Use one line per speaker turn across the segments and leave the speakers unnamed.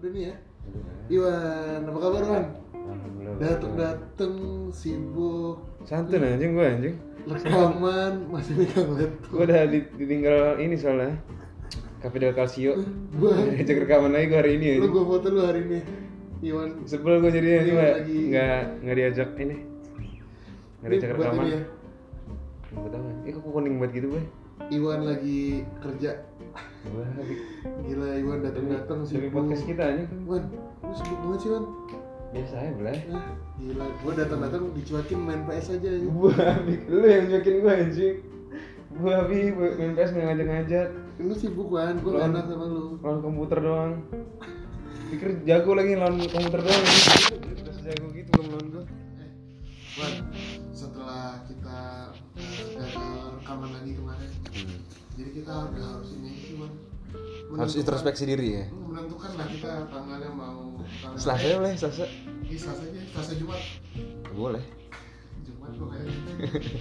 Iwan, ya. Iya, apa kabar Wan?
Alhamdulillah.
Dateng dateng sibuk
Santun
Hmm.
anjing gue anjing.
rekaman masih megang
Gue
laptop.
udah di- ditinggal ini soalnya. Cafe del Calcio.
Gua
Cek rekaman lagi gue hari ini
Hmm. lu
anjing.
gua foto lu hari ini. Iwan
Sebel gue jadinya anjing
Iya,
nggak
lagi-
nggak nggak diajak ini. Nggak diajak
ini buat
rekaman.
ini ya.
Gue tahu. Eh kok kuning banget gitu gue.
Iwan lagi kerja.
Gue
Gila Iwan dateng dateng
Demi
sibuk.
podcast kita anjing.
Wan, lu sibuk banget sih Wan.
Biasa aja belah.
Ah, gila, gua dateng dateng dicuekin main PS aja. Ya.
Gue lu yang nyokin gue anjing. Gue habis main PS nggak ngajak-ngajak.
Lu sibuk Wan, gua
Wan.
gak enak sama lu.
lawan komputer doang pikir jago lagi lawan komputer doang udah sejago gitu belum lawan gua
Eh, Wan, setelah kita eh, gagal rekaman lagi kemarin, jadi kita udah harus ini sih Wan.
Hmm. harus
Menentukan-
introspeksi diri ya
menentukan lah kita tanggalnya mau tanggal
selasa
Eh,
boleh selasa
iya, selasa aja selasa jumat
boleh
jumat pokoknya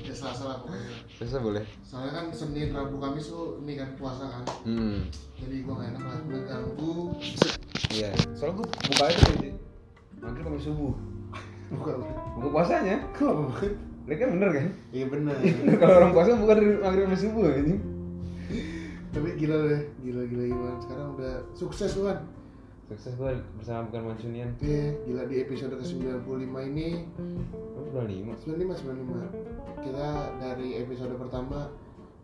ya selasa lah pokoknya
selasa boleh
soalnya kan senin rabu kamis tuh ini kan puasa kan
hmm
jadi gua gak enak lah mengganggu
iya soalnya gua buka aja sih maghrib sampai subuh
bukan
buka puasanya
lama banget
ini kan bener kan
iya benar
bener kalau orang puasa bukan dari maghrib sampai subuh ini
tapi gila deh gila gila Iwan sekarang udah sukses Iwan
sukses gua bersama bukan mancunian
Iya, gila di episode ke 95 ini
lu udah lima
95 95 kita dari episode pertama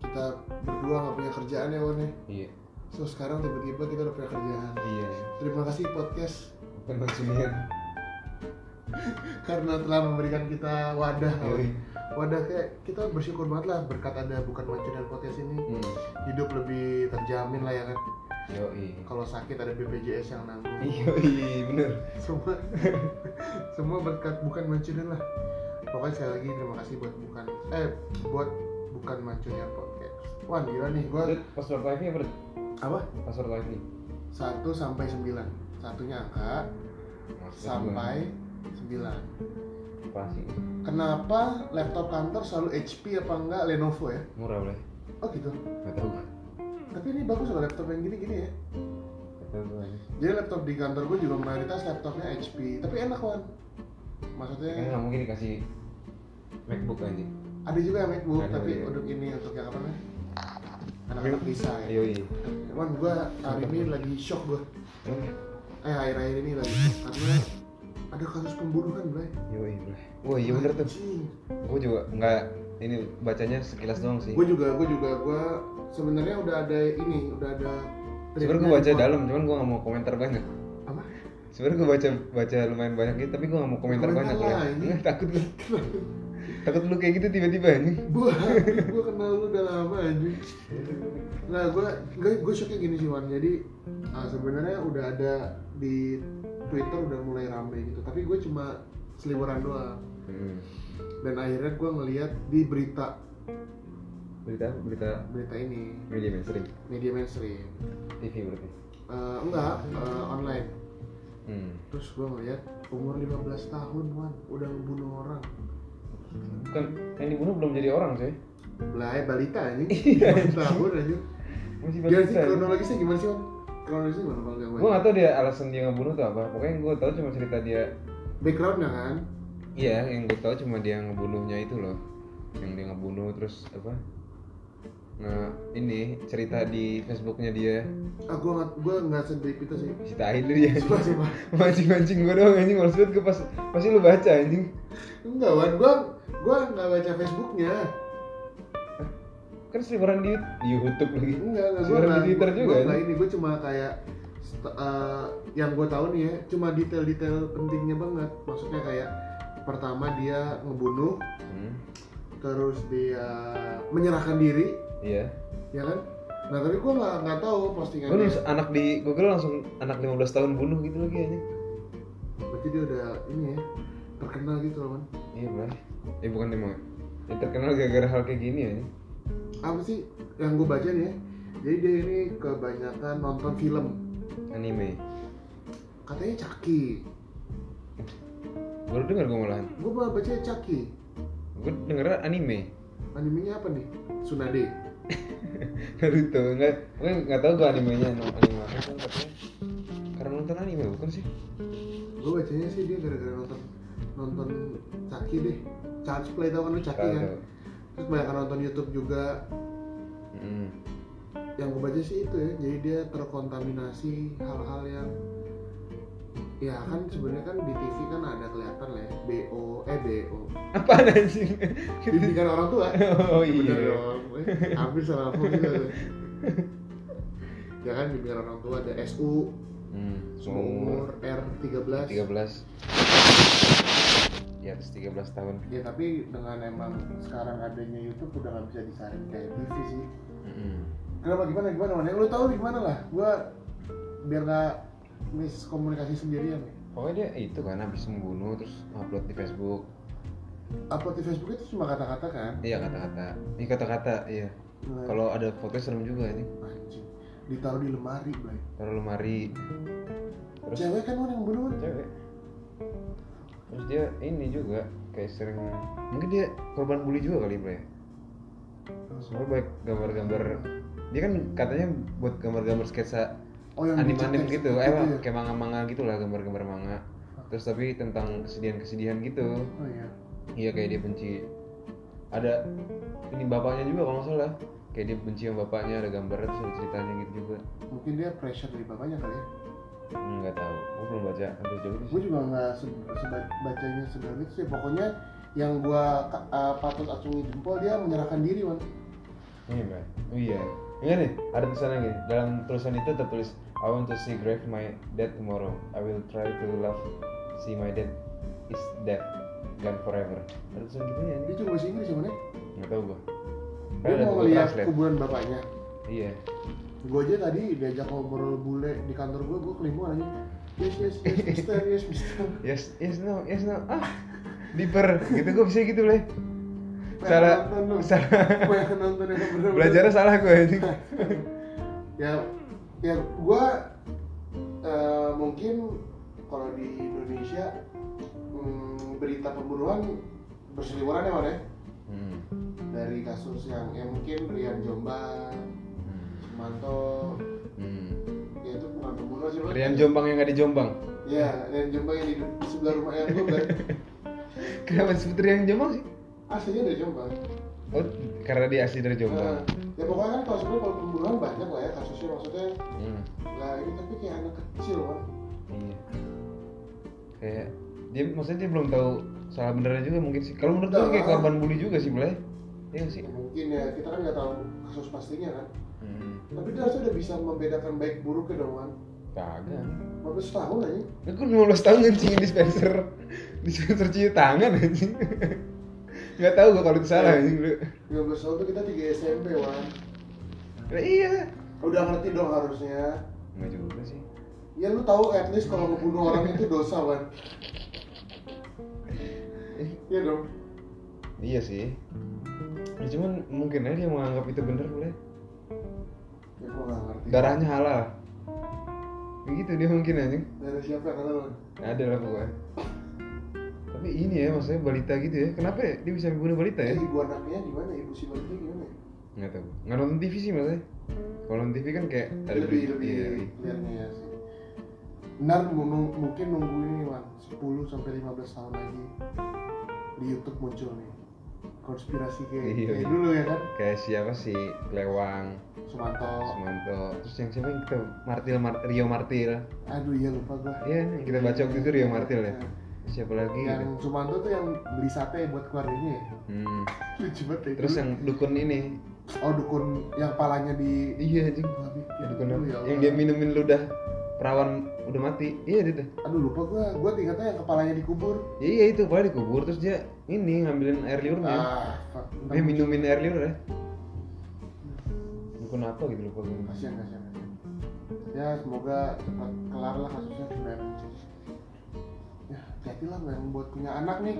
kita berdua nggak punya kerjaan ya Wan ya
iya
so sekarang tiba-tiba kita udah punya kerjaan
iya
Terima kasih podcast
bukan mancunian
karena telah memberikan kita wadah.
Yoi.
Wadah kayak kita bersyukur banget lah berkat ada bukan macet dan podcast ini
hmm.
hidup lebih terjamin lah ya kan.
yoi
Kalau sakit ada BPJS yang
Iya.
nanggung.
yoi bener
Semua semua berkat bukan mancunian lah. Pokoknya sekali lagi terima kasih buat bukan eh buat bukan mancunian podcast. Wah gila nih gua
Dut, password wifi apa Dut?
apa?
password wifi
1 sampai 9. Satunya angka sampai 9.
pasti
Kenapa laptop kantor selalu HP apa enggak Lenovo ya?
murah boleh
Oh gitu.
nggak tahu gua.
Tapi ini bagus loh laptop yang gini-gini ya.
nggak tahu gua ini.
Jadi laptop di kantor gue juga mayoritas laptopnya HP. Tapi enak kan.
kan
Maksudnya
nggak mungkin dikasih MacBook aja
ada juga yang MacBook
Ada,
tapi
iya.
untuk ini untuk yang apa namanya? Anak-anak bisa ya.
yoi
Cuman gue hari ini lagi shock gue. Eh akhir-akhir ini lagi shock karena ada kasus pembunuhan, Bray.
yoi boleh wah iya bener tuh gua juga nggak ini bacanya sekilas doang sih
Gue juga, gue juga, gue sebenarnya udah ada ini, udah ada
sebenarnya gua baca dalam cuman gua nggak mau komentar banyak
apa?
sebenarnya gua baca baca lumayan banyak gitu tapi gua nggak mau komentar
Komentar
banyak
lah,
ya
ini.
Nggak, takut gua takut lu kayak gitu tiba-tiba ini
gua gua kenal lu udah lama anjing nah gua gua, gua shocknya gini sih Wan jadi ah, sebenarnya udah ada di Twitter udah mulai rame gitu tapi gue cuma seliweran doang
hmm.
dan akhirnya gua ngeliat di berita
berita berita
berita ini
media mainstream
media mainstream
TV berarti
Eh, enggak eh, online
hmm.
terus gua ngeliat umur 15 tahun Wan udah ngebunuh orang
bukan yang dibunuh belum jadi orang sih
lah eh, balita anjing 15 tahun anjing
masih ya?
gimana Iya sih
balita.
kronologisnya gimana sih Wan kronologisnya gimana kalau nggak
gue gak tau dia alasan dia ngebunuh tuh apa pokoknya yang gue tau cuma cerita dia
backgroundnya kan
iya yang gue tau cuma dia ngebunuhnya itu loh yang dia ngebunuh terus apa nah ini cerita di Facebooknya dia
ah gue nggak gue nggak sedip itu sih
si tai lu dia
Sumpah, sumpah.
mancing mancing gue doang anjing males banget gue pas pasti lu baca anjing
enggak wan gue gue nggak baca Facebooknya
kan seliburan di, di YouTube lagi
enggak enggak gue
Sebenarnya di Twitter juga
gue
ya?
ini gue cuma kayak st- eh, yang gue tahu nih ya cuma detail-detail pentingnya banget maksudnya kayak pertama dia ngebunuh
hmm,
terus dia menyerahkan diri
iya
ya kan nah tapi gue nggak nggak tahu
gue
postingannya
nulis anak di Google langsung anak 15 tahun bunuh gitu lagi anjing
berarti dia udah ini ya terkenal gitu loh man
iya bener eh bukan emang ya, terkenal gara-gara hal kayak gini anjing
apa sih yang gue baca nih ya jadi dia ini kebanyakan nonton film
anime
katanya caki
baru dengar gue malahan
gue malah baca caki
gue denger anime
animenya apa nih Tsunade
Naruto nggak gue nggak tahu gue animenya no, anime apa cuman katanya karena nonton anime bukan sih
gue bacanya sih dia gara-gara nonton nonton caki deh charge play tau kan lu caki
Tahu,
kan
tahu.
terus banyak nonton YouTube juga
Mm.
yang gue baca sih itu ya jadi dia terkontaminasi hal-hal yang ya kan sebenarnya kan di TV kan ada kelihatan lah ya BO eh BO
Apaan anjing?
didikan orang tua
Oh
Bener
iya.
dong. Eh, hampir salah aku juga ya kan bimbingan orang tua ada SU
Hmm,
semua
umur
umur R13
13 di atas 13 tahun.
ya tapi dengan emang sekarang adanya YouTube udah nggak bisa disaring kayak TV sih
Mm-mm.
kenapa gimana gimana man yang lu tahu gimana lah gua biar nggak miskomunikasi sendirian ya
Pokoknya dia itu kan habis membunuh terus upload di Facebook.
upload di Facebook itu cuma kata-kata kan
Iya kata-kata. Ini kata-kata, iya.
Nah,
Kalau ada foto serem juga ini.
anjing ditaruh di lemari Blay.
Taruh lemari. Terus
cewek kan man yang bunuh Man.
cewek. Terus dia ini juga kayak sering mungkin dia korban bully juga kali, Bro ya. Soalnya baik gambar-gambar dia kan katanya buat gambar-gamber sketsa
oh yang
anim-anim
dicetek
gitu, eh
gitu ya?
kayak manga-manga gitu lah gambar-gambar manga. Terus tapi tentang kesedihan-kesedihan gitu.
oh iya
Iya kayak dia benci ada ini bapaknya juga kalau nggak salah kayak dia benci sama bapaknya ada gambarnya terus ada ceritanya gitu juga
mungkin dia pressure dari bapaknya kali ya
Hmm, nggak tahu gue belum baca sampai jauh itu
gue
sih
juga nggak se- seba- bacanya sedalam itu sih pokoknya yang gua ka- uh, patut acungi jempol dia menyerahkan diri man
iya Mbak. oh iya enggak nih ada tulisannya gini dalam tulisan itu tertulis I want to see grave my dead tomorrow I will try to love see my dead is dead gone forever ada tulisan gitu ya ini
dia cuma bahasa Inggris ya man ya?
nggak tahu gue
dia mau ngeliat kuburan bapaknya
iya
gue aja tadi diajak ngobrol bule di kantor gue gue kelimpungan aja yes yes yes mister yes mister
yes yes no yes no ah deeper gitu gue bisa gitu leh
Banyak
Salah-
nonton lu.
salah.
Banyak nonton yang bener-bener.
belajarnya salah gue ini
ya ya gue mungkin kalau di Indonesia hmm, berita pembunuhan berseliweran ya Wan, ya?
Hmm.
dari kasus yang ya mungkin Rian Jombang Sumanto
Hmm.
ya itu bukan pembunuhan sih Wan.
Rian Jombang yang gak di Jombang.
ya Rian Jombang yang di, di sebelah rumah yang gue kan
Kenapa disebut Rian Jombang sih?
aslinya dari Jombang
Oh, karena dia asli dari
Nah,
Jombang.
ya pokoknya kan kalau sebenarnya kalau pembunuhan banyak lah ya kasusnya maksudnya
Hmm.
lah ini tapi kayak anak kecil kan
Iya. Kayak dia maksudnya dia belum tahu salah benernya juga mungkin sih. Kalau menurut gue kayak korban bully juga sih, Blay. Iya nggak sih.
ya, mungkin ya kita kan nggak tahu kasus pastinya kan
Hmm.
tapi dia harusnya udah bisa membedakan baik buruknya dong kan
Kagak.
15 tahun aja
Nah, gue 15 tahun ngencingin dispenser dispenser cuci tangan anjing. Gak tahu gue kalau itu salah anjing lu.
15 tahun tuh kita 3 SMP kan
Nah, iya.
udah ngerti dong harusnya
Enggak juga sih.
ya lu tahu at least kalau ngebunuh orang itu dosa kan iya dong
Iya sih. Ya, cuman mungkin aja dia menganggap itu bener boleh.
ya gua nggak ngerti
Darahnya halal. Begitu dia mungkin anjing.
dari siapa kata lu
Ada lah pokoknya. Tapi ini ya maksudnya balita gitu ya. Kenapa ya dia bisa membunuh balita
eh,
ya?
ibu anaknya gimana ibu si baliknya gimana ya?
Nggak tahu. Nggak nonton TV sih maksudnya. Kalau nonton TV kan kayak ada berita-
lebih lebih
iya,
clearnya ya sih Nar mu- mungkin nunggu ini Wan 10 sampai 15 tahun lagi di YouTube muncul nih konspirasi kayak,
Iya.
kayak dulu ya kan
Kayak siapa sih Lewang,
Sumanto
Sumanto, terus yang siapa yang kita Martil, Mar- Rio Martil.
aduh iya lupa gua Iya.
Iya, yang kita baca waktu itu Rio Martil ya. Terus Siapa lagi?
yang
gitu?
Sumanto tuh yang beli sate buat keluarganya ya
Hmm.
lucu banget ya
Terus
dulu.
yang dukun ini.
oh dukun yang palanya di
Iya, anjing.
Gua pikir,
Ya, dukun
aduh,
apa?
ya
yang
Allah.
dia minumin ludah perawan udah mati. Iya itu. tuh.
aduh lupa gua gua ingatnya yang kepalanya dikubur
Ya, iya itu paling dikubur terus dia ini ngambilin air liurnya.
ah fuck
Iya. dia minumin air liur ya. Bukan apa gitu lupa gue.
kasihan kasihan kasihan. ya semoga cepat kelar lah kasusnya dan ya jadilah yang buat punya anak nih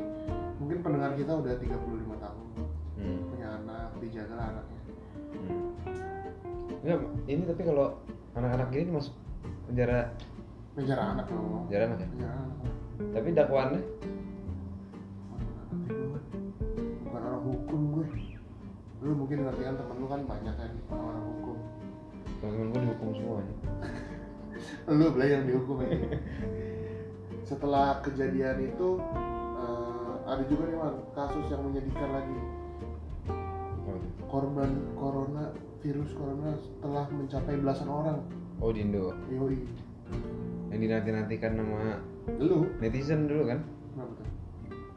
mungkin pendengar kita udah 35 tahun
Hmm.
punya anak dijagalah anaknya
hmm. Enggak, ini tapi kalau anak-anak gini masuk penjara
penjara anak dong
penjara anak ya.
penjara anak
Tapi dakwaannya
bukan orang hukum gue lu mungkin ngerti kan temen lu kan banyak kan orang hukum
ya. teman-teman gue dihukum semuanya.
lu belajar yang dihukum ya setelah kejadian itu eh, ada juga nih Wan, kasus yang menyedihkan lagi
Apa tuh?
korban corona virus corona telah mencapai belasan orang
Oh di Indo
yoi
yang dinanti-nantikan nama
lu
netizen dulu kan
kenapa tuh?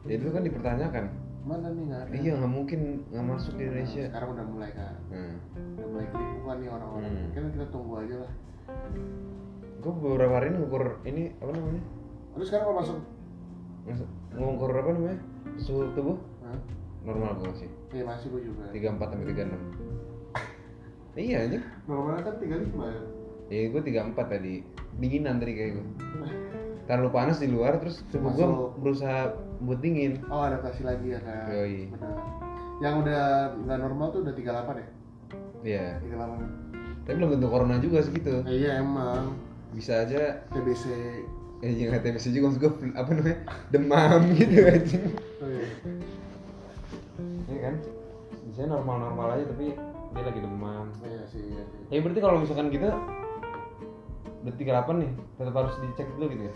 ya dulu kan dipertanyakan
mana nih nggak ada
iya nggak mungkin nggak masuk di
Nah,
Indonesia
sekarang udah mulai kan
nah,
udah mulai kelihatan nih orang-orang
Hmm.
kan kita tunggu aja lah
gue beberapa hari ngukur ini apa namanya
terus sekarang kalau masuk
Mas- ngukur apa namanya suhu tubuh
Hah?
normal gue masih
ya masih gue juga
34 sampai 36 iya aja
normalnya kan 35 ya
ya gue 34 tadi dinginan tadi kayak gue terlalu panas di luar terus tubuh gue
Masuk.
berusaha buat dingin
Oh adaptasi lagi ya kan.
Yoi.
Benar. Yang udah nggak normal tuh udah 38 ya.
ya
38.
tapi belum tentu corona juga segitu
Eh, iya emang
bisa aja
TBC.
eh jangan TBC juga maksud gue apa namanya demam gitu aja
Oh, iya.
Iya kan biasanya normal-normal aja tapi dia lagi demam
Iya sih. Iya sih.
ya berarti kalau misalkan kita udah 38 nih tetap harus dicek dulu gitu ya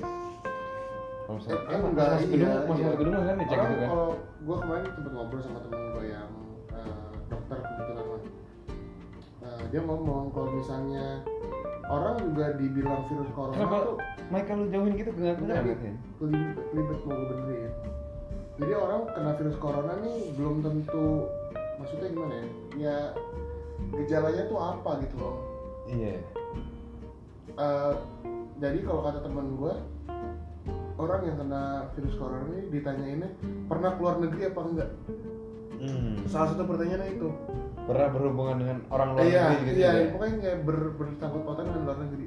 kalau misalkan
Eh,
eh,
kan
mas-
nggak,
masuk gedung
iya,
masuk
iya.
gedung kan dicek
Orang
gitu kan
Kalau gue kemarin sempet ngobrol sama temen gue yang eh, dokter kebetulan Wan. Eh, dia ngomong kalau misalnya orang juga dibilang virus corona
Kenapa?
tuh
Mike kalau jauhin gitu nggak
Enggak,
kelihatan
Bi.
ya?
Kelibet, kelibet mau gue benerin. Jadi orang kena virus corona nih belum tentu maksudnya gimana ya? Ya gejalanya tuh apa gitu loh.
Iya.
Eh, jadi kalau kata teman gue, orang yang kena virus corona ini ditanyainnya pernah keluar negeri apa enggak?
Hmm.
Salah satu pertanyaannya itu.
Pernah berhubungan dengan orang luar
iya,
negeri gitu
iya,
ya?
pokoknya kayak ber, bersangkut pautan dengan luar negeri.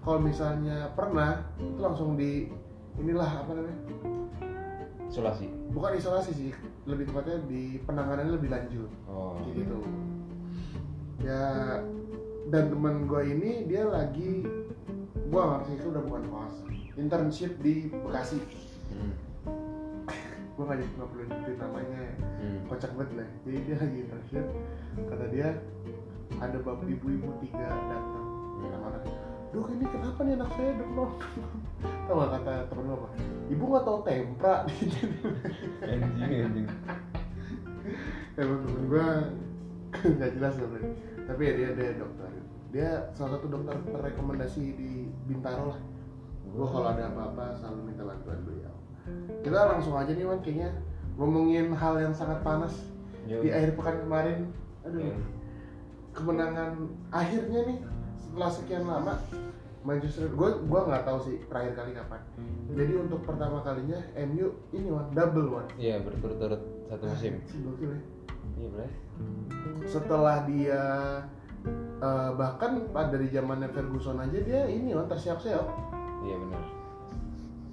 Kalau misalnya pernah, itu langsung di inilah apa namanya?
Isolasi.
bukan isolasi sih lebih tepatnya di penanganannya lebih lanjut
Oh.
kayak gitu ya dan teman gue ini dia lagi gue ngerti itu udah bukan koas internship di Bekasi
Hmm.
gue nggak nggak perlu nyebutin namanya ya.
Hmm.
kocak banget lah jadi dia lagi internship kata dia ada bapak ibu-ibu tiga datang anak-anak duh ini kenapa nih anak saya demam tau gak kata temen gue apa ibu nggak tahu tempra
Anjing, anjing.
emang temen gue nggak jelas lah Bray. tapi ya dia dia dokter dia salah satu dokter terrekomendasi di Bintaro lah gue kalau ada apa-apa selalu minta bantuan beliau kita langsung aja nih man kayaknya ngomongin hal yang sangat panas
Yo.
di akhir pekan kemarin aduh
Yo.
kemenangan akhirnya nih setelah sekian lama Manchester gue gua nggak tahu sih terakhir kali kapan jadi untuk pertama kalinya MU ini one double one
Iya, berturut-turut satu musim.
Sih, gokil ya.
Iya, Bray.
setelah dia eh, bahkan pada dari zamannya Ferguson aja dia ini on tersiap-siap
Iya, benar.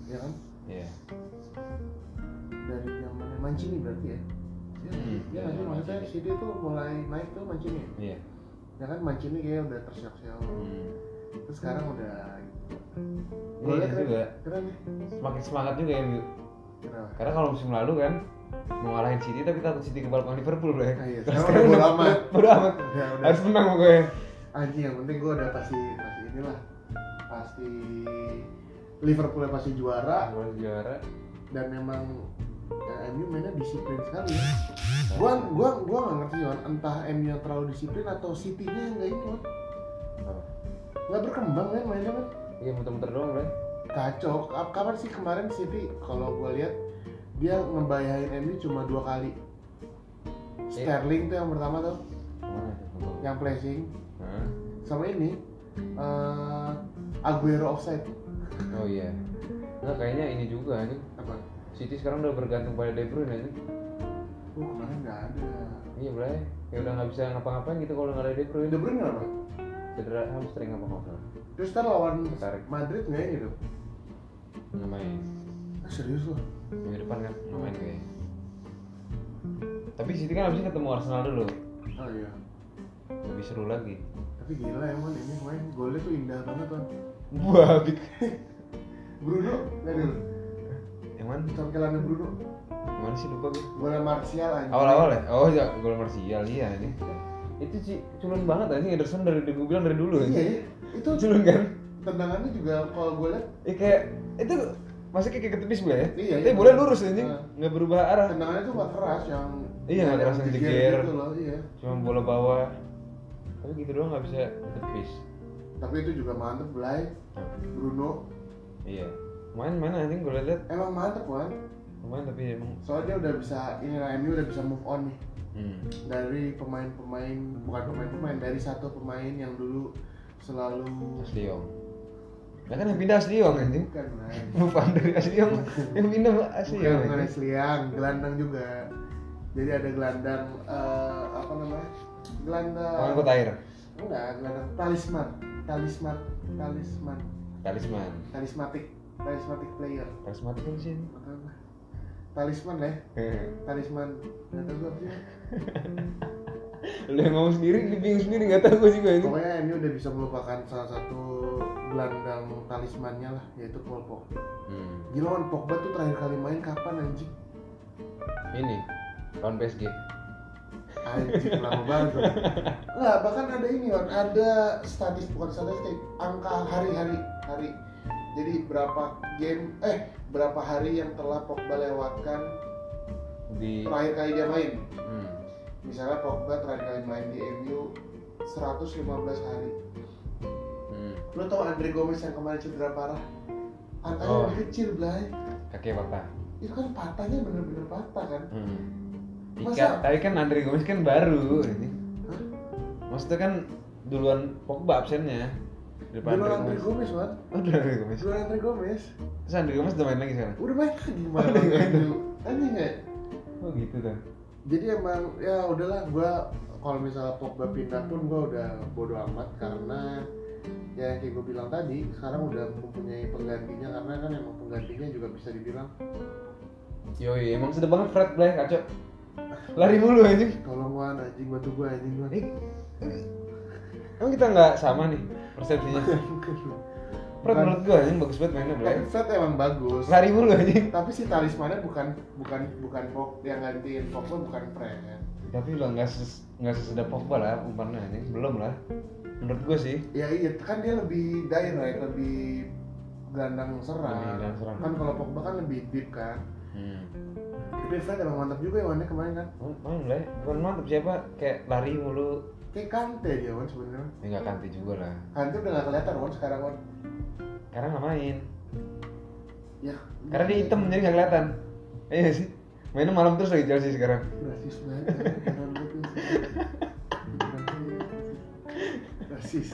ya kan
Iya.
dari zamannya Mancini berarti ya dia
Hmm,
dia
iya,
nanti
iya,
maksudnya
Mancini.
City tuh mulai naik tuh Mancini
Iya.
ya kan Mancini kayaknya udah tersiap-siap
Hmm.
terus sekarang udah gitu.
Iya
Golnya keren,
juga.
keren ya
Semakin semangat juga ya, Bu.
Keren.
Karena kalau musim lalu kan mau ngalahin City tapi takut City ke balkon Liverpool, Bray.
Ah, iya.
Terus
Sekarang
sekarang
udah bodo
udah-
amat.
Bodo amat.
Udah, udah.
Harus menang pokoknya.
anjing yang penting gue udah pasti pasti inilah pasti Liverpool yang pasti juara
Harus juara.
dan memang eh, MU mainnya disiplin sekali ya. gua gua gua nggak ngerti Wan entah MU yang terlalu disiplin atau City-nya yang nggak ini Wan
Apa?
nggak berkembang kan mainnya kan
Iya, muter-muter doang, Bray.
kacau K- kapan sih kemarin City kalau gua lihat dia ngebayahin MU cuma dua kali Sterling tuh yang pertama tuh
Mana?
yang flashing
Hah?
sama ini eh, Aguero offside
Oh iya. Nah, kayaknya ini juga nih.
apa
City sekarang udah bergantung pada De Bruyne aja.
oh kemarin nggak ada
Iya, Bray. Ya udah nggak bisa ngapa-ngapain gitu kalau nggak ada De Bruyne.
De Bruyne kenapa
Cedera hamstring apa nggak salah.
terus ntar lawan
Tertarik.
Madrid nggak ini tuh
Nggak main.
ah, serius loh
Minggu depan kan nggak main kayaknya. Tapi City kan habisnya ketemu Arsenal dulu.
oh iya
Lebih seru lagi.
tapi gila emang ini main golnya tuh indah banget kan
Wah, big.
Bruno nggak dulu
Yang mana?
tampilannya Bruno
Yang mana sih lupa gue.
bola Martial aja
Awal-awal ya? Oh ya, gol Martial iya ini. Itu sih culun banget anjing Ederson dari gue bilang dari dulu.
iya
anjing.
ya itu
Culun kan?
tendangannya juga kalau gue lihat
Ya kayak itu masih kayak ketepis bola ya
Iya,
tapi
iya.
bola lurus anjing
Ah.
nggak berubah arah
tendangannya tuh gak keras yang
Iya, nggak keras yang
digear
digear.
gitu loh iya
cuma bola bawah tapi gitu doang nggak bisa ketepis
tapi itu juga mantep Blay Bruno
iya main mana anjing gue liat
emang mantep kan
main tapi emang
soalnya dia udah bisa ini lah MU udah bisa move on nih
hmm.
dari pemain-pemain bukan pemain-pemain dari satu pemain yang dulu selalu
Asliong nah kan yang pindah Asliong anjing
bukan Blay
bukan dari Asliong yang pindah
Bukan
Asliong
bukan
anjing.
Sliang, gelandang juga. Jadi ada gelandang eh, apa namanya? Gelandang.
Orang kota air
Enggak, gelandang talisman, talisman, talisman,
talisman
talismatik, talismatik player.
karismatik kan sih
Nggak tahu gua. Talisman deh, talisman. Nggak tahu gua apa sih.
lu yang ngomong sendiri lu bingung sendiri nggak tahu gue juga anjing
Pokoknya ini udah bisa melupakan salah satu gelandang talismannya lah, yaitu Paul Pogba.
hmm.
Gila kan Pogba tuh terakhir kali main kapan anjing?
ini lawan PSG
Anjing lama banget. Bro. Lah bahkan ada ini kan, ada statistik bukan statistik, angka hari-hari hari. Jadi berapa game eh berapa hari yang telah Pogba lewatkan
di
terakhir kali dia main.
hmm.
Misalnya Pogba terakhir kali main di MU 115 hari.
Hmm.
Lo tau Andre Gomez yang kemarin cedera parah? Angkanya
Oh.
lebih kecil, Blay.
kakek papa
Itu kan patahnya bener-bener patah kan?
hmm.
Masa?
Ika, tapi kan Andre Gomez kan baru ini
Hah?
maksudnya kan duluan Pogba absennya daripada
Dulu Andre
Andre Gomez
Gomez, man.
oh duluan Andre Gomez
Dulu Andre Gomez.
terus Andre Gomez udah main lagi sekarang
Udah main lagi malah.
Udah main.
Anjing ya?
oh gitu tuh
jadi emang ya udahlah gua kalau misalnya Pogba pindah pun gua udah bodo amat karena ya yang kayak gue bilang tadi sekarang udah mempunyai penggantinya karena kan emang penggantinya juga bisa dibilang
yoi emang sedih banget Fred Black kacau lari mulu anjing
tolong wan anjing bantu gua anjing wan
Eh, emang kita nggak sama nih persepsinya iya. Fred
Bukan.
menurut gua anjing bagus banget mainnya Black
tapi Fred emang bagus
lari mulu anjing
tapi si talismannya bukan bukan bukan Pog yang gantiin Pogba bukan Fred
tapi lah nggak ses nggak sesedap Pogba lah umpannya anjing belum lah menurut gua sih
ya iya kan dia lebih direct lebih gelandang
Lebih
serang
gelandang serang.
kan kalau Pogba kan lebih deep kan
hmm.
tapi Fred emang mantap juga ya Wannya kemarin kan
Oh, main Black bukan mantep siapa kayak lari mulu
kayak kante dia Wan sebenarnya
ya nggak kanti juga lah
kante udah gak kelihatan Wan sekarang Wan
karena nggak main
ya
karena dia hitam jadi nggak kelihatan iya nggak sih mainnya malam terus lagi Chelsea sekarang
rasis banget heran gua tuh. rasis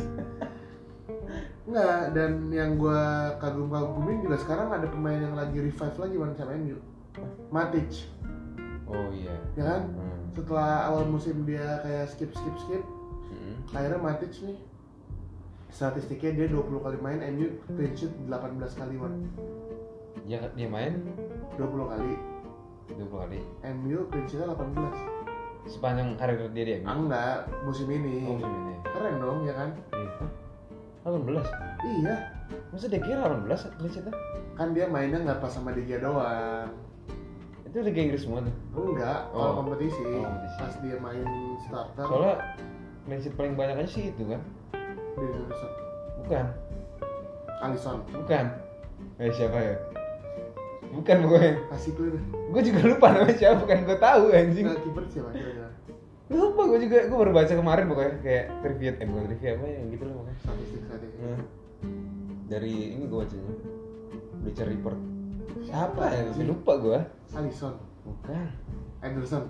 Enggak, dan yang gua kagum-kagumin juga sekarang ada pemain yang lagi revive lagi Wan sama MU Matic,
oh iya
ya kan?
hmm.
Setelah awal musim dia kayak skip-skip-skip
Hmm.
Akhirnya Matic nih Statistiknya dia 20 kali main, MU clean sheet 18 kali Wan
dia dia main
20 kali,
20 kali
MU clean sheetnya 18
sepanjang karir dia dia
Ah, Enggak, musim ini.
oh musim ini
Keren dong, ya kan?
Iya. Hah? 18
Iya,
masa dia kira 18 clean sheet-nya?
kan dia mainnya nggak pas sama dia doang.
itu Liga Inggris semua tuh
Enggak,
Oh.
kalau kompetisi,
Oh, kompetisi.
pas dia main starter,
soalnya clean sheet paling banyak aja sih itu kan
dia ngerusak.
bukan
Alisson,
bukan eh siapa ya bukan pokoknya
kasih clue deh.
gue juga lupa namanya siapa bukan gue tahu anjing
Nah, kiper siapa kira-kira?
lupa gue juga gue baru baca kemarin pokoknya kayak trivia eh bukan trivia apa yang gitu loh pokoknya
Statistik statistik.
Nah, dari ini gue bacanya Bleacher Report siapa ya masih lupa gue
Alisson,
bukan
Anderson.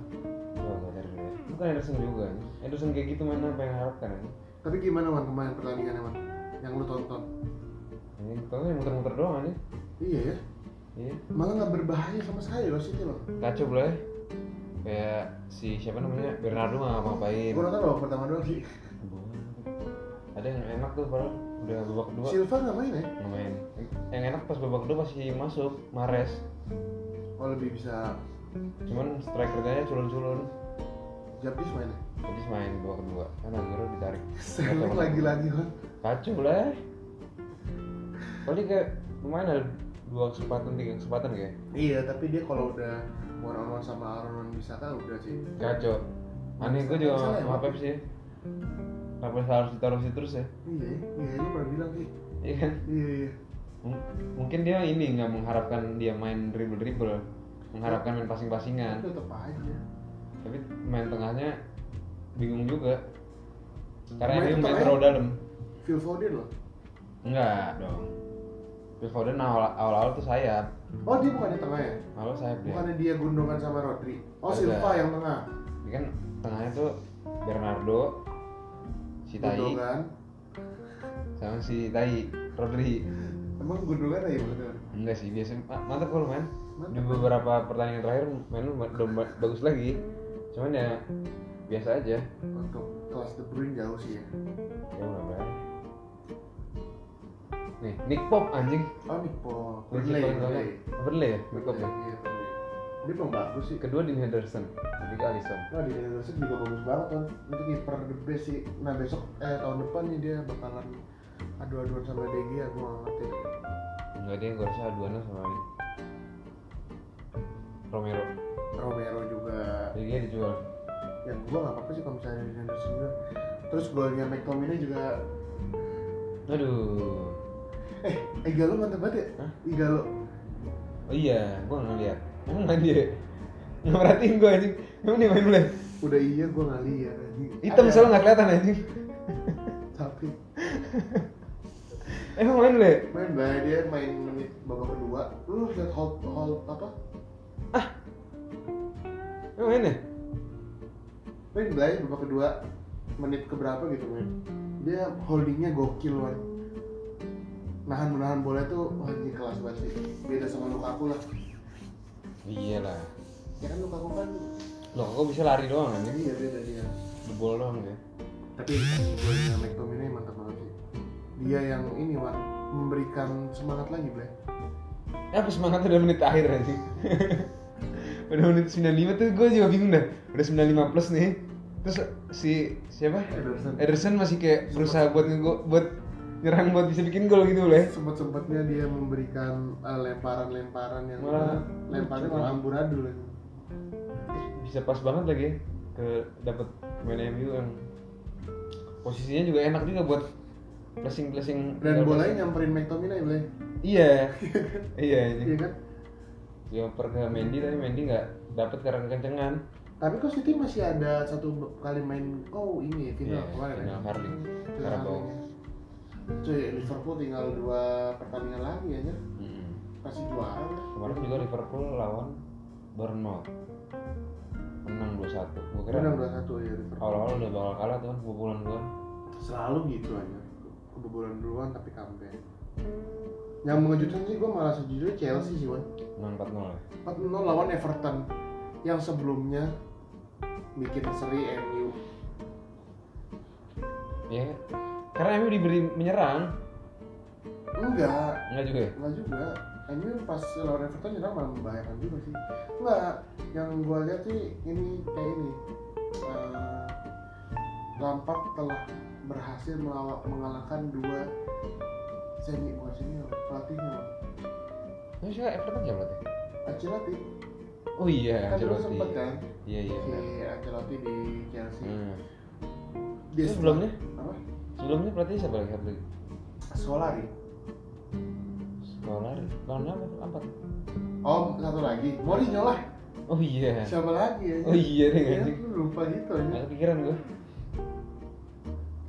Coba gua cari dulu ya. bukan Anderson juga Anderson kayak gitu mana apa yang harapkan ini
Tapi gimana man kemarin pertandingannya man? Yang lu tonton?
ini tau yang muter-muter doang aja
Iya ya,
iya
malah nggak berbahaya sama sekali loh City loh.
kacau boleh kayak si siapa namanya Bernardo nggak ngapain
Gue nonton loh pertama doang sih.
ada yang enak tuh padahal udah babak kedua
Silva nggak main ya?
main yang enak pas babak kedua masih masuk Mares
Oh lebih bisa
cuman strikernya culun-culun
Japis mainnya.
jadi main babak kedua kan Aguero ditarik
Sterling lagi-lagi man.
kacau lah paling kayak lumayan ada dua kesempatan tiga kesempatan kayak
Iya, tapi dia kalau udah one on one sama Aaron Wan-Bissaka udah sih.
kacau aneh gue juga sama- sama Pep sih kenapa harus ditaruh situ terus ya
Iya, iya lu Iya, pernah bilang sih.
iya kan
Iya, iya.
Mung- mungkin dia ini nggak mengharapkan dia main dribble dribble mengharapkan main passing passingan
tetep aja
tapi main tengahnya bingung juga karena
Main
dia main
tengahnya?
terlalu dalam
Phil Foden loh
enggak dong Phil Foden awal awal tuh sayap
oh dia bukannya tengah ya
awal sayap dia
bukannya dia gundogan sama Rodri oh
Ada.
Silva yang tengah
Dia kan tengahnya tuh Bernardo si Tai
gundogan
sama si Tai Rodri
emang gundogan aja bener
enggak sih biasanya ma- mantap kalau main di
Mantap.
beberapa pertandingan terakhir main lu ba- ba- bagus lagi cuman ya biasa aja
untuk kelas De Bruyne jauh sih ya
ya udah bayar. nih Nick Pop anjing
oh nih po
Kunci
Burnley Burnley.
poin doang. Burnley ya Nick Pop ya
Iya, Burnley. dia pemain bagus sih
kedua Dean Henderson ketiga Alisson
Wah di Indonesia juga bagus banget kan Itu kiper the best sih Nah besok, eh tahun depan nih dia bakalan adu-aduan sama DG ya gue gak ngerti
enggak dia gue rasa aduannya sama ini Romero
Romero juga
jadi dia dijual
Ya gue gak apa-apa sih kalau misalnya di Indonesia juga Terus golnya McTominay juga
aduh
Eh, Igalo mantep banget ya?
Hah?
Igalo
oh iya gue nggak lihat emang main dia nggak merhatiin gue anjing emang dia main mulai
Udah iya gue gak liat anjing.
hitam
Ada-
soalnya nggak kelihatan anjing
Tapi
emang main mulai
main banget dia main menit babak kedua Lu liat hold, hold apa?
emang main ya
Main Blay babak kedua menit keberapa gitu main dia holdingnya gokil wan nahan menahan bola tuh wah ini kelas banget sih beda sama Lukaku lah
iya lah
ya kan Lukaku kan
loh kok bisa lari doang anjing
iya beda dia
jebol doang ya
tapi golnya McTominay mantap banget sih dia yang ini wan memberikan semangat lagi Blay
Eh, apa semangatnya udah menit akhir anjing udah menit 95 tuh gue juga bingung dah udah 95 plus nih terus si siapa
Ederson.
Ederson masih kayak berusaha buat ngego buat nyerang buat bisa bikin gol gitu boleh
sempat sempatnya dia memberikan eh, lemparan-lemparan yang
Malah-
lemparan yang amburadul lagi.
bisa pas banget lagi ya, ke dapat main MU yang posisinya juga enak juga buat blessing blessing
dan bolanya nyamperin McTominay Blay
iya iya ini
iya kan
dioper ke Mendy tapi Mendy nggak dapat karena kencengan
tapi kok City masih ada satu kali main oh ini ya, final
Iya,
kemarin ya.
final Carling.
Final
Carabao.
Carling ya. cuy Liverpool tinggal dua pertandingan lagi aja
Mm-mm.
pasti juara udah.
Kemarin juga
Hmm.
Liverpool lawan Bournemouth menang 2-1. Gue kira
menang dua satu ya Liverpool
awal-awal udah bakal kalah tuh kan kebobolan gua.
selalu gitu aja kebobolan duluan tapi comeback yang mengejutkan sih gue malah sejujurnya Chelsea sih Wan
Menang 4-0 ya.
4-0 lawan Everton yang sebelumnya bikin seri MU
Iya. Karena MU diberi menyerang,
enggak
enggak juga ya?
Enggak juga. MU pas lawan Everton nyerang malah membahayakan juga sih. Enggak, yang gue lihat sih ini kayak ini. Eh, Lampard telah berhasil melawa- mengalahkan dua semi bukan semi pelatihnya
Tapi sih Everton siapa berarti?
Ancelotti
Oh iya,
kan dulu
Ancelotti.
sempet kan
Iya iya.
si
benar.
Ancelotti di Chelsea
Hmm.
dia
Terus
setelah-
sebelumnya?
apa
Sebelumnya pelatih siapa lagi? Satu lagi.
Solari
Sekolah lawan apa? Lampard.
Om satu lagi Mourinho lah
Oh iya.
siapa lagi ya
Oh iya deh
Ya,
anjing.
lu lupa gitu aja
Enggak kepikiran gua.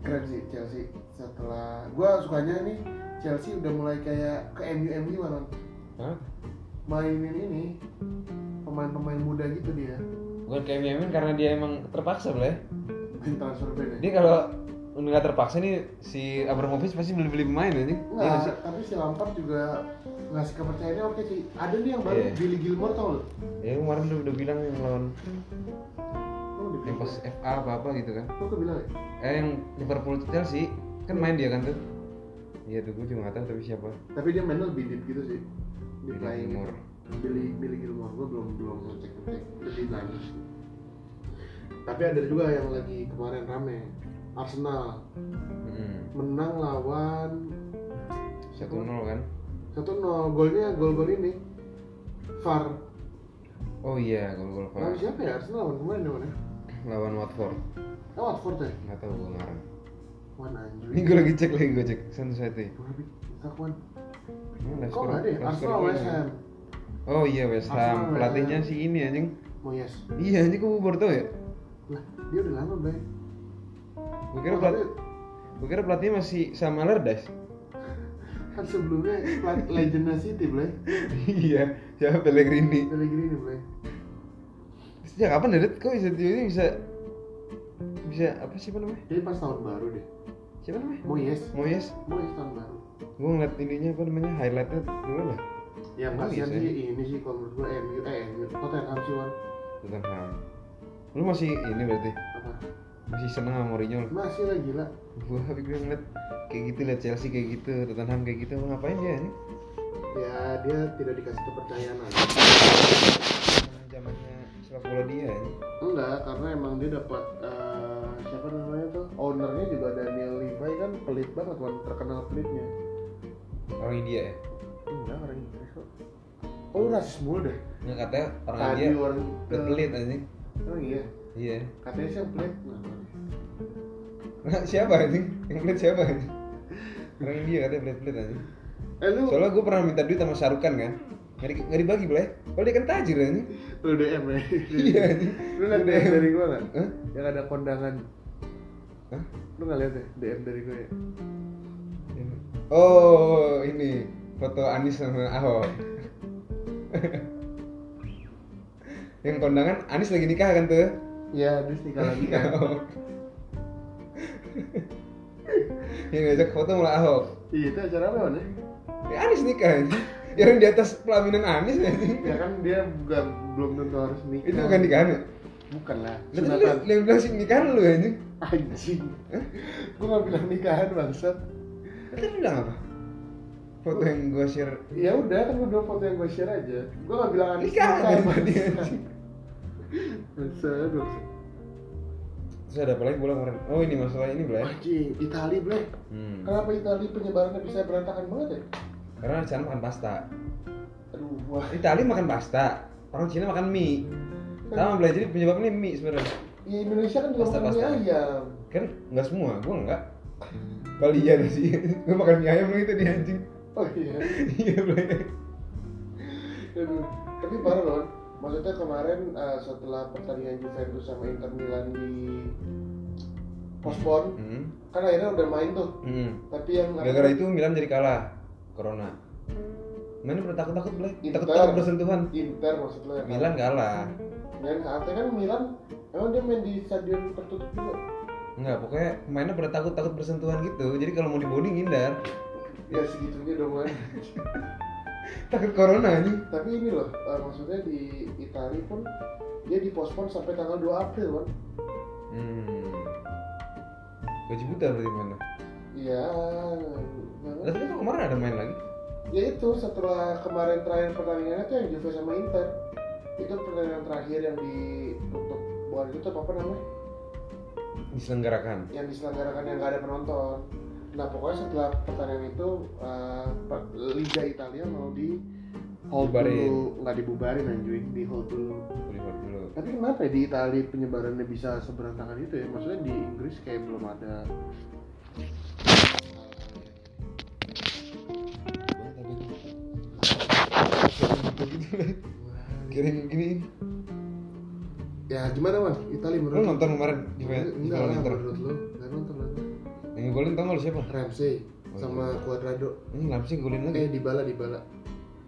keren sih Chelsea setelah gua sukanya nih Chelsea udah mulai kayak ke MU MU kan
Hah?
mainin ini pemain-pemain muda gitu dia
Bukan kayak Miamin karena dia emang terpaksa boleh.
main transfer ban ya
Dia kalau nggak terpaksa nih si Abramovich pasti beli-beli pemain Iya ini.
Nah, tapi si Lampard juga ngasih kepercayaannya oke sih. Ada nih yang baru
Iya.
Billy Gilmore tau lo?
Ya kemarin udah, udah bilang yang lawan
Lu udah
yang
bilang.
pas FA apa apa gitu kan.
Lu kebilang ya?
Eh yang Liverpool Chelsea kan main dia kan tuh. Iya tuh gue juga nggak tahu tapi siapa.
Tapi dia mainnya lebih deep gitu sih. Di
Billy
playing gitu.
Gilmore.
Billy Billy Gilmore gua belum belum ngecek ngecek lebih lagi. Tapi ada juga yang lagi kemarin rame Arsenal
Mm-mm.
menang lawan
Hmm, Satu nol kan.
satu nol golnya gol gol ini Far
Oh iya gol-gol
lawan
Far
siapa ya Arsenal lawan kemarin lawan ya
lawan Watford.
oh Watford ya
Nggak tahu gue ngarang.
Wan anjir
Ini gue lagi cek lagi gue cek satu satu.
Gua habis, rusak, Wan
Mana
Kok
skor-
nggak ada ya?
skor
Arsenal
gol? kan?
West Ham.
Oh iya West
Arsenal,
Ham.
West
Pelatihnya
Ham.
si ini anjing.
Moyes.
Iya anjing gue baru tau ya.
Oh, Lah, dia udah lama, Bay.
Gue kira
Oh,
pelat,
tapi-
gue kira pelatihnya masih sama Lerdas.
Kan sebelumnya pelat- legendnya City, Bay.
iya. Siapa Pellegrini?
Pellegrini, Bay.
Sejak kapan Dedet kok bisa tiba-tiba bisa bisa apa sih namanya?
Jadi pas tahun baru deh. Oh,
Siapa namanya?
Moyes.
Moyes.
Moyes tahun baru.
Gue ngeliat ininya apa namanya highlightnya dulu lah.
Yang
Moyes,
kasihan
ya.
sih ini sih kalau menurut gue MU eh MU Tottenham sih Wan.
Tottenham. Lu masih ini berarti
Apa?
masih seneng sama Mourinho lu?
Masih lah gila.
Gua pikir ngeliat kayak gitu liat Chelsea kayak gitu, Tottenham kayak gitu, mau ngapain dia ini?
Ya dia tidak dikasih kepercayaan aja.
Zamannya sepak bola dia ini.
Enggak, karena emang dia dapat eh, siapa namanya tuh? Ownernya juga Daniel Levi kan pelit banget Wan, terkenal pelitnya.
Orang India ya?
Enggak, orang Inggris kok. Oh, lu rasis mulu deh.
Nggak katanya orang
Tadi
India
orang
pelit pelit anjing.
Oh iya.
Iya.
Katanya sih yang pelit. Nah,
Nah, siapa anjing? Yang pelit siapa anjing? Orang India katanya pelit pelit anjing.
Eh lu
Soalnya gue pernah minta duit sama Sarukan kan. Nggak di- nggak dibagi boleh? Kalau dia kan tajir anjing.
lu DM ya.
Iya anjing.
Lu liat DM dari gua kan?
Hah?
Yang ada kondangan.
Hah?
Lu nggak lihat ya DM dari gua ya?
Oh ini foto Anis sama Ahok. yang kondangan Anis lagi nikah kan tuh?
Iya, terus nikah lagi kan.
Ahok. yang ngajak foto malah Ahok.
Iya, itu acara apa Wan, ya?
Ya Anis nikah aja. Ya orang di atas pelaminan Anis anjing.
Ya kan dia bukan belum tentu harus nikah.
Itu bukan nikahan ya?
Bukan lah.
Lah, tadi Lu
Sunatan.
lu yang bilang sih nikahan lu anjing.
Anjing. gua nggak bilang nikahan bangsat.
Lah, Tadi lu bilang apa? Foto yang gua share
Ya udah kan gua bilang foto yang gua share aja. Gua nggak bilang Anis
Nikahan
nikah,
dari tadi,
bangsat.
anjing.
Bangsat, bangsat.
Terus ada apa lagi bola kemarin? Oh ini masalah ini boleh.
Anjing, Itali, Bleh.
Hmm.
Kenapa Itali penyebarannya bisa berantakan banget ya?
Karena di sana makan pasta.
Aduh, wah.
Itali makan pasta, orang Cina makan mie. Sama belajar jadi penyebabnya mie sebenarnya.
Ya Indonesia kan juga makan mie
Pasta-pasta.
ayam.
Kan nggak semua, gua nggak. Balian sih, gua makan mie ayam itu di anjing.
Oh iya.
Iya boleh.
Aduh. Tapi parah loh. Maksudnya kemarin eh, setelah pertandingan Juventus sama Inter Milan di postpone,
Hmm.
kan akhirnya udah main tuh.
Hmm.
Tapi yang
Gara-gara itu Milan jadi kalah. Corona. Main udah takut-takut boleh.
Inter.
Takut-takut bersentuhan.
Inter maksud lo ya?
Milan kalah.
Dan artinya kan Milan emang dia main di stadion tertutup juga.
Enggak, pokoknya mainnya pada takut-takut bersentuhan gitu. Jadi kalau mau dibonding hindar.
Ya segitunya dong kan.
Takut corona anjing.
Tapi ini loh, eh, maksudnya di Italia pun dia dipospon sampai tanggal 2 April kan.
Hmm. Gaji buta berarti mainnya.
Iya.
Lah tapi kok kemarin ada main lagi.
Nah, ya itu setelah kemarin terakhir pertandingannya tuh yang Juve sama Inter itu pertandingan terakhir yang di untuk bukan itu apa namanya
Diselenggarakan.
yang diselenggarakan yang gak ada penonton nah pokoknya setelah pertandingan itu eh, per- Liga Italia mau di hold
Bubarin.
dulu nggak dibubarin anjing di hold dulu
Lihat dulu.
tapi kenapa ya di Italia penyebarannya bisa seberantakan itu ya maksudnya di Inggris kayak belum ada
Kirim gini.
ya gimana man Italia
Lu
menurut
nonton kemarin Juve
enggak
Juve
lah
Inter.
menurut lu nggak nonton nonton
Yang golin tau gak lu siapa?
Ramsey sama Cuadrado
Oh, iya. Ini kenapa sih golin lagi?
eh Dybala Dybala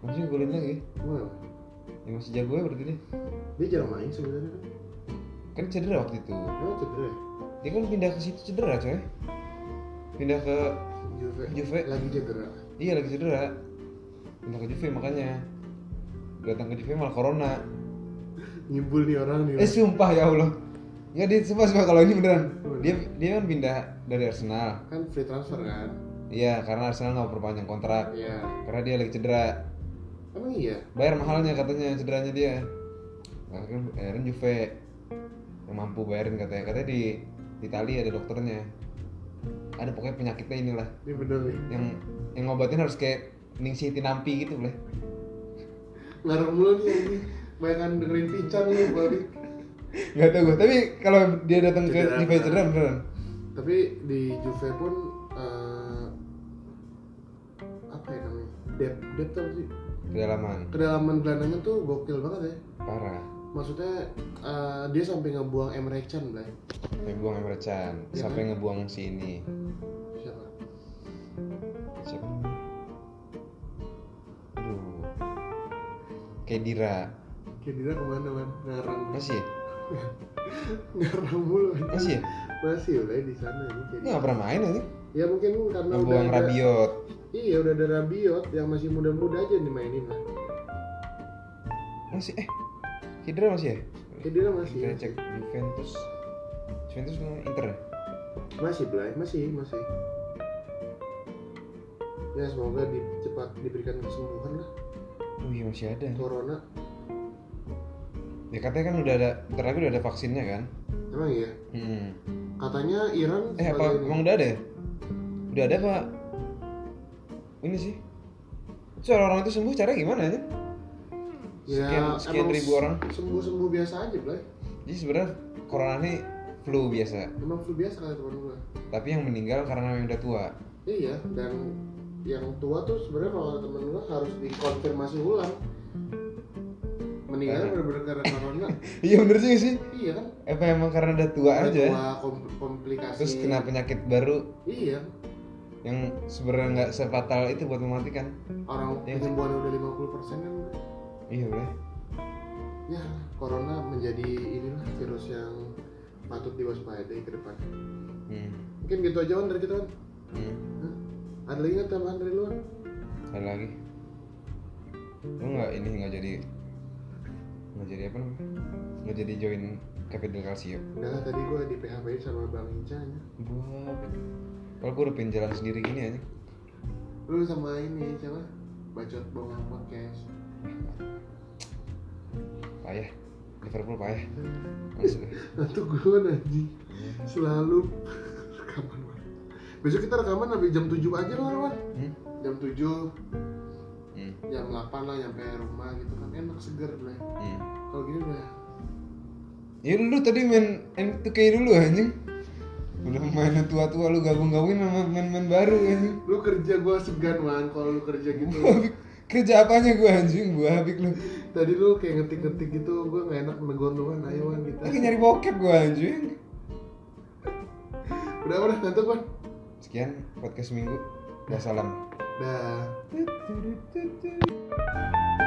Kenapa sih golin lagi?
wow.
Ya masih jago ya berarti dia.
dia jarang main sebenarnya kan
Kan cedera waktu itu.
emang cedera ya?
Dia kan pindah ke situ cedera coy. Pindah ke
Juve.
Juve.
lagi cedera
iya lagi cedera. Pindah ke Juve makanya. Datang ke Juve malah corona.
nyebul nih orang nih
Eh sumpah ya Allah. Ya dia sumpah sumpah kalau ini beneran. Dia dia kan pindah dari Arsenal.
kan free transfer kan
Iya karena Arsenal nggak perpanjang kontrak.
iya
Karena dia lagi cedera.
emang iya
bayar mahalnya katanya cederanya dia Nah, kan bayarin Juve yang mampu bayarin katanya katanya di di Itali ada dokternya ada pokoknya penyakitnya inilah
ini bener nih
yang yang ngobatin harus kayak ningsih tinampi gitu boleh
ngarep mulu nih ini bayangan dengerin pincang lu balik
nggak tahu gue tapi kalau dia datang ke
Cedera,
Juve
beneran.
cedera beneran
tapi di Juve pun eh, apa ya namanya depth depth tuh apa sih
kedalaman
kedalaman gelandangnya tuh gokil banget ya
parah
maksudnya eh, dia sampai ngebuang Emre Can Blay.
sampai buang Emre Can
Iya,
sampai ngebuang si ini
siapa
siapa namanya? aduh Kedira
Kedira kemana man ngarang
masih ya?
ngarang mulu man.
masih ya?
masih Blay di sana ini
dia
jadi
nggak pernah main nanti
ya mungkin karena udah
ngebuang
ada-
Rabiot
iya udah ada Rabiot yang masih muda-muda aja dimainin lah
masih eh Kedira masih ya
Kedira Iya, masih
kita cek Juventus Juventus sama Inter ya?
masih Blay masih masih ya semoga di, cepat diberikan kesembuhan lah
oh iya masih ada
Corona
ya katanya kan udah ada bentar lagi udah ada vaksinnya kan
emang iya
hmm.
katanya Iran
eh apa
sebagai-
emang udah ada ya? udah ada pak ini sih Terus orang-orang itu sembuh caranya gimana aja? Sekian, sekian
Ya, emang
ribu orang.
sembuh sembuh biasa aja Blay
Jadi sebenarnya corona ini flu biasa,
emang flu biasa kata teman gue
tapi yang meninggal karena yang udah tua.
iya dan yang tua tuh sebenarnya kalau kata temen gue harus dikonfirmasi ulang meninggalnya
Karena-
bener-bener karena corona
Iya bener juga sih.
iya kan
Apa emang karena udah tua iya
Orang
aja?
tua kom- komplikasi
Terus kena penyakit baru
iya
yang sebenarnya nggak sefatal itu buat mematikan.
orang
Iya.
penyembuhan udah 50% kan
Iya boleh.
ya corona menjadi inilah virus yang patut diwaspadai ke depan
Hmm.
mungkin gitu aja on dari kita on
hmm.
Hah? ada lagi nggak tambahan dari luar
Ada lagi. Lu nggak ini nggak jadi nggak jadi apa namanya? Nggak jadi join Capital Calcio.
Udah tadi gue di PHP sama Bang Hinca ya.
Gua kalau gua udah pengen jalan sendiri gini aja.
Lu sama ini siapa? Bacot Bongkang Podcast
Payah. Liverpool payah. Langsung.
Nanti gue nanti Selalu Rekaman Wan. Besok kita rekaman sampai jam 7 aja lah Wan
Hmm?
Jam 7
Hmm.
Jam 8 lah nyampe rumah gitu kan Enak seger lah
Hmm.
Kalau gini udah
Ya lu tadi main M2K dulu anjing Udah main tua-tua lu gabung-gabungin sama main-main baru anjing
Lu kerja gue segan Wan Kalau lu kerja
Gua
gitu
habis- Kerja apanya gua anjing, gua habis lu
Tadi lu kayak ngetik-ngetik gitu Gue gak enak negor lu Wan Ayo Wan kita
Lagi nyari bokep gua anjing
Udah udah ngantuk Wan
Sekian podcast minggu Wassalam
Dah
salam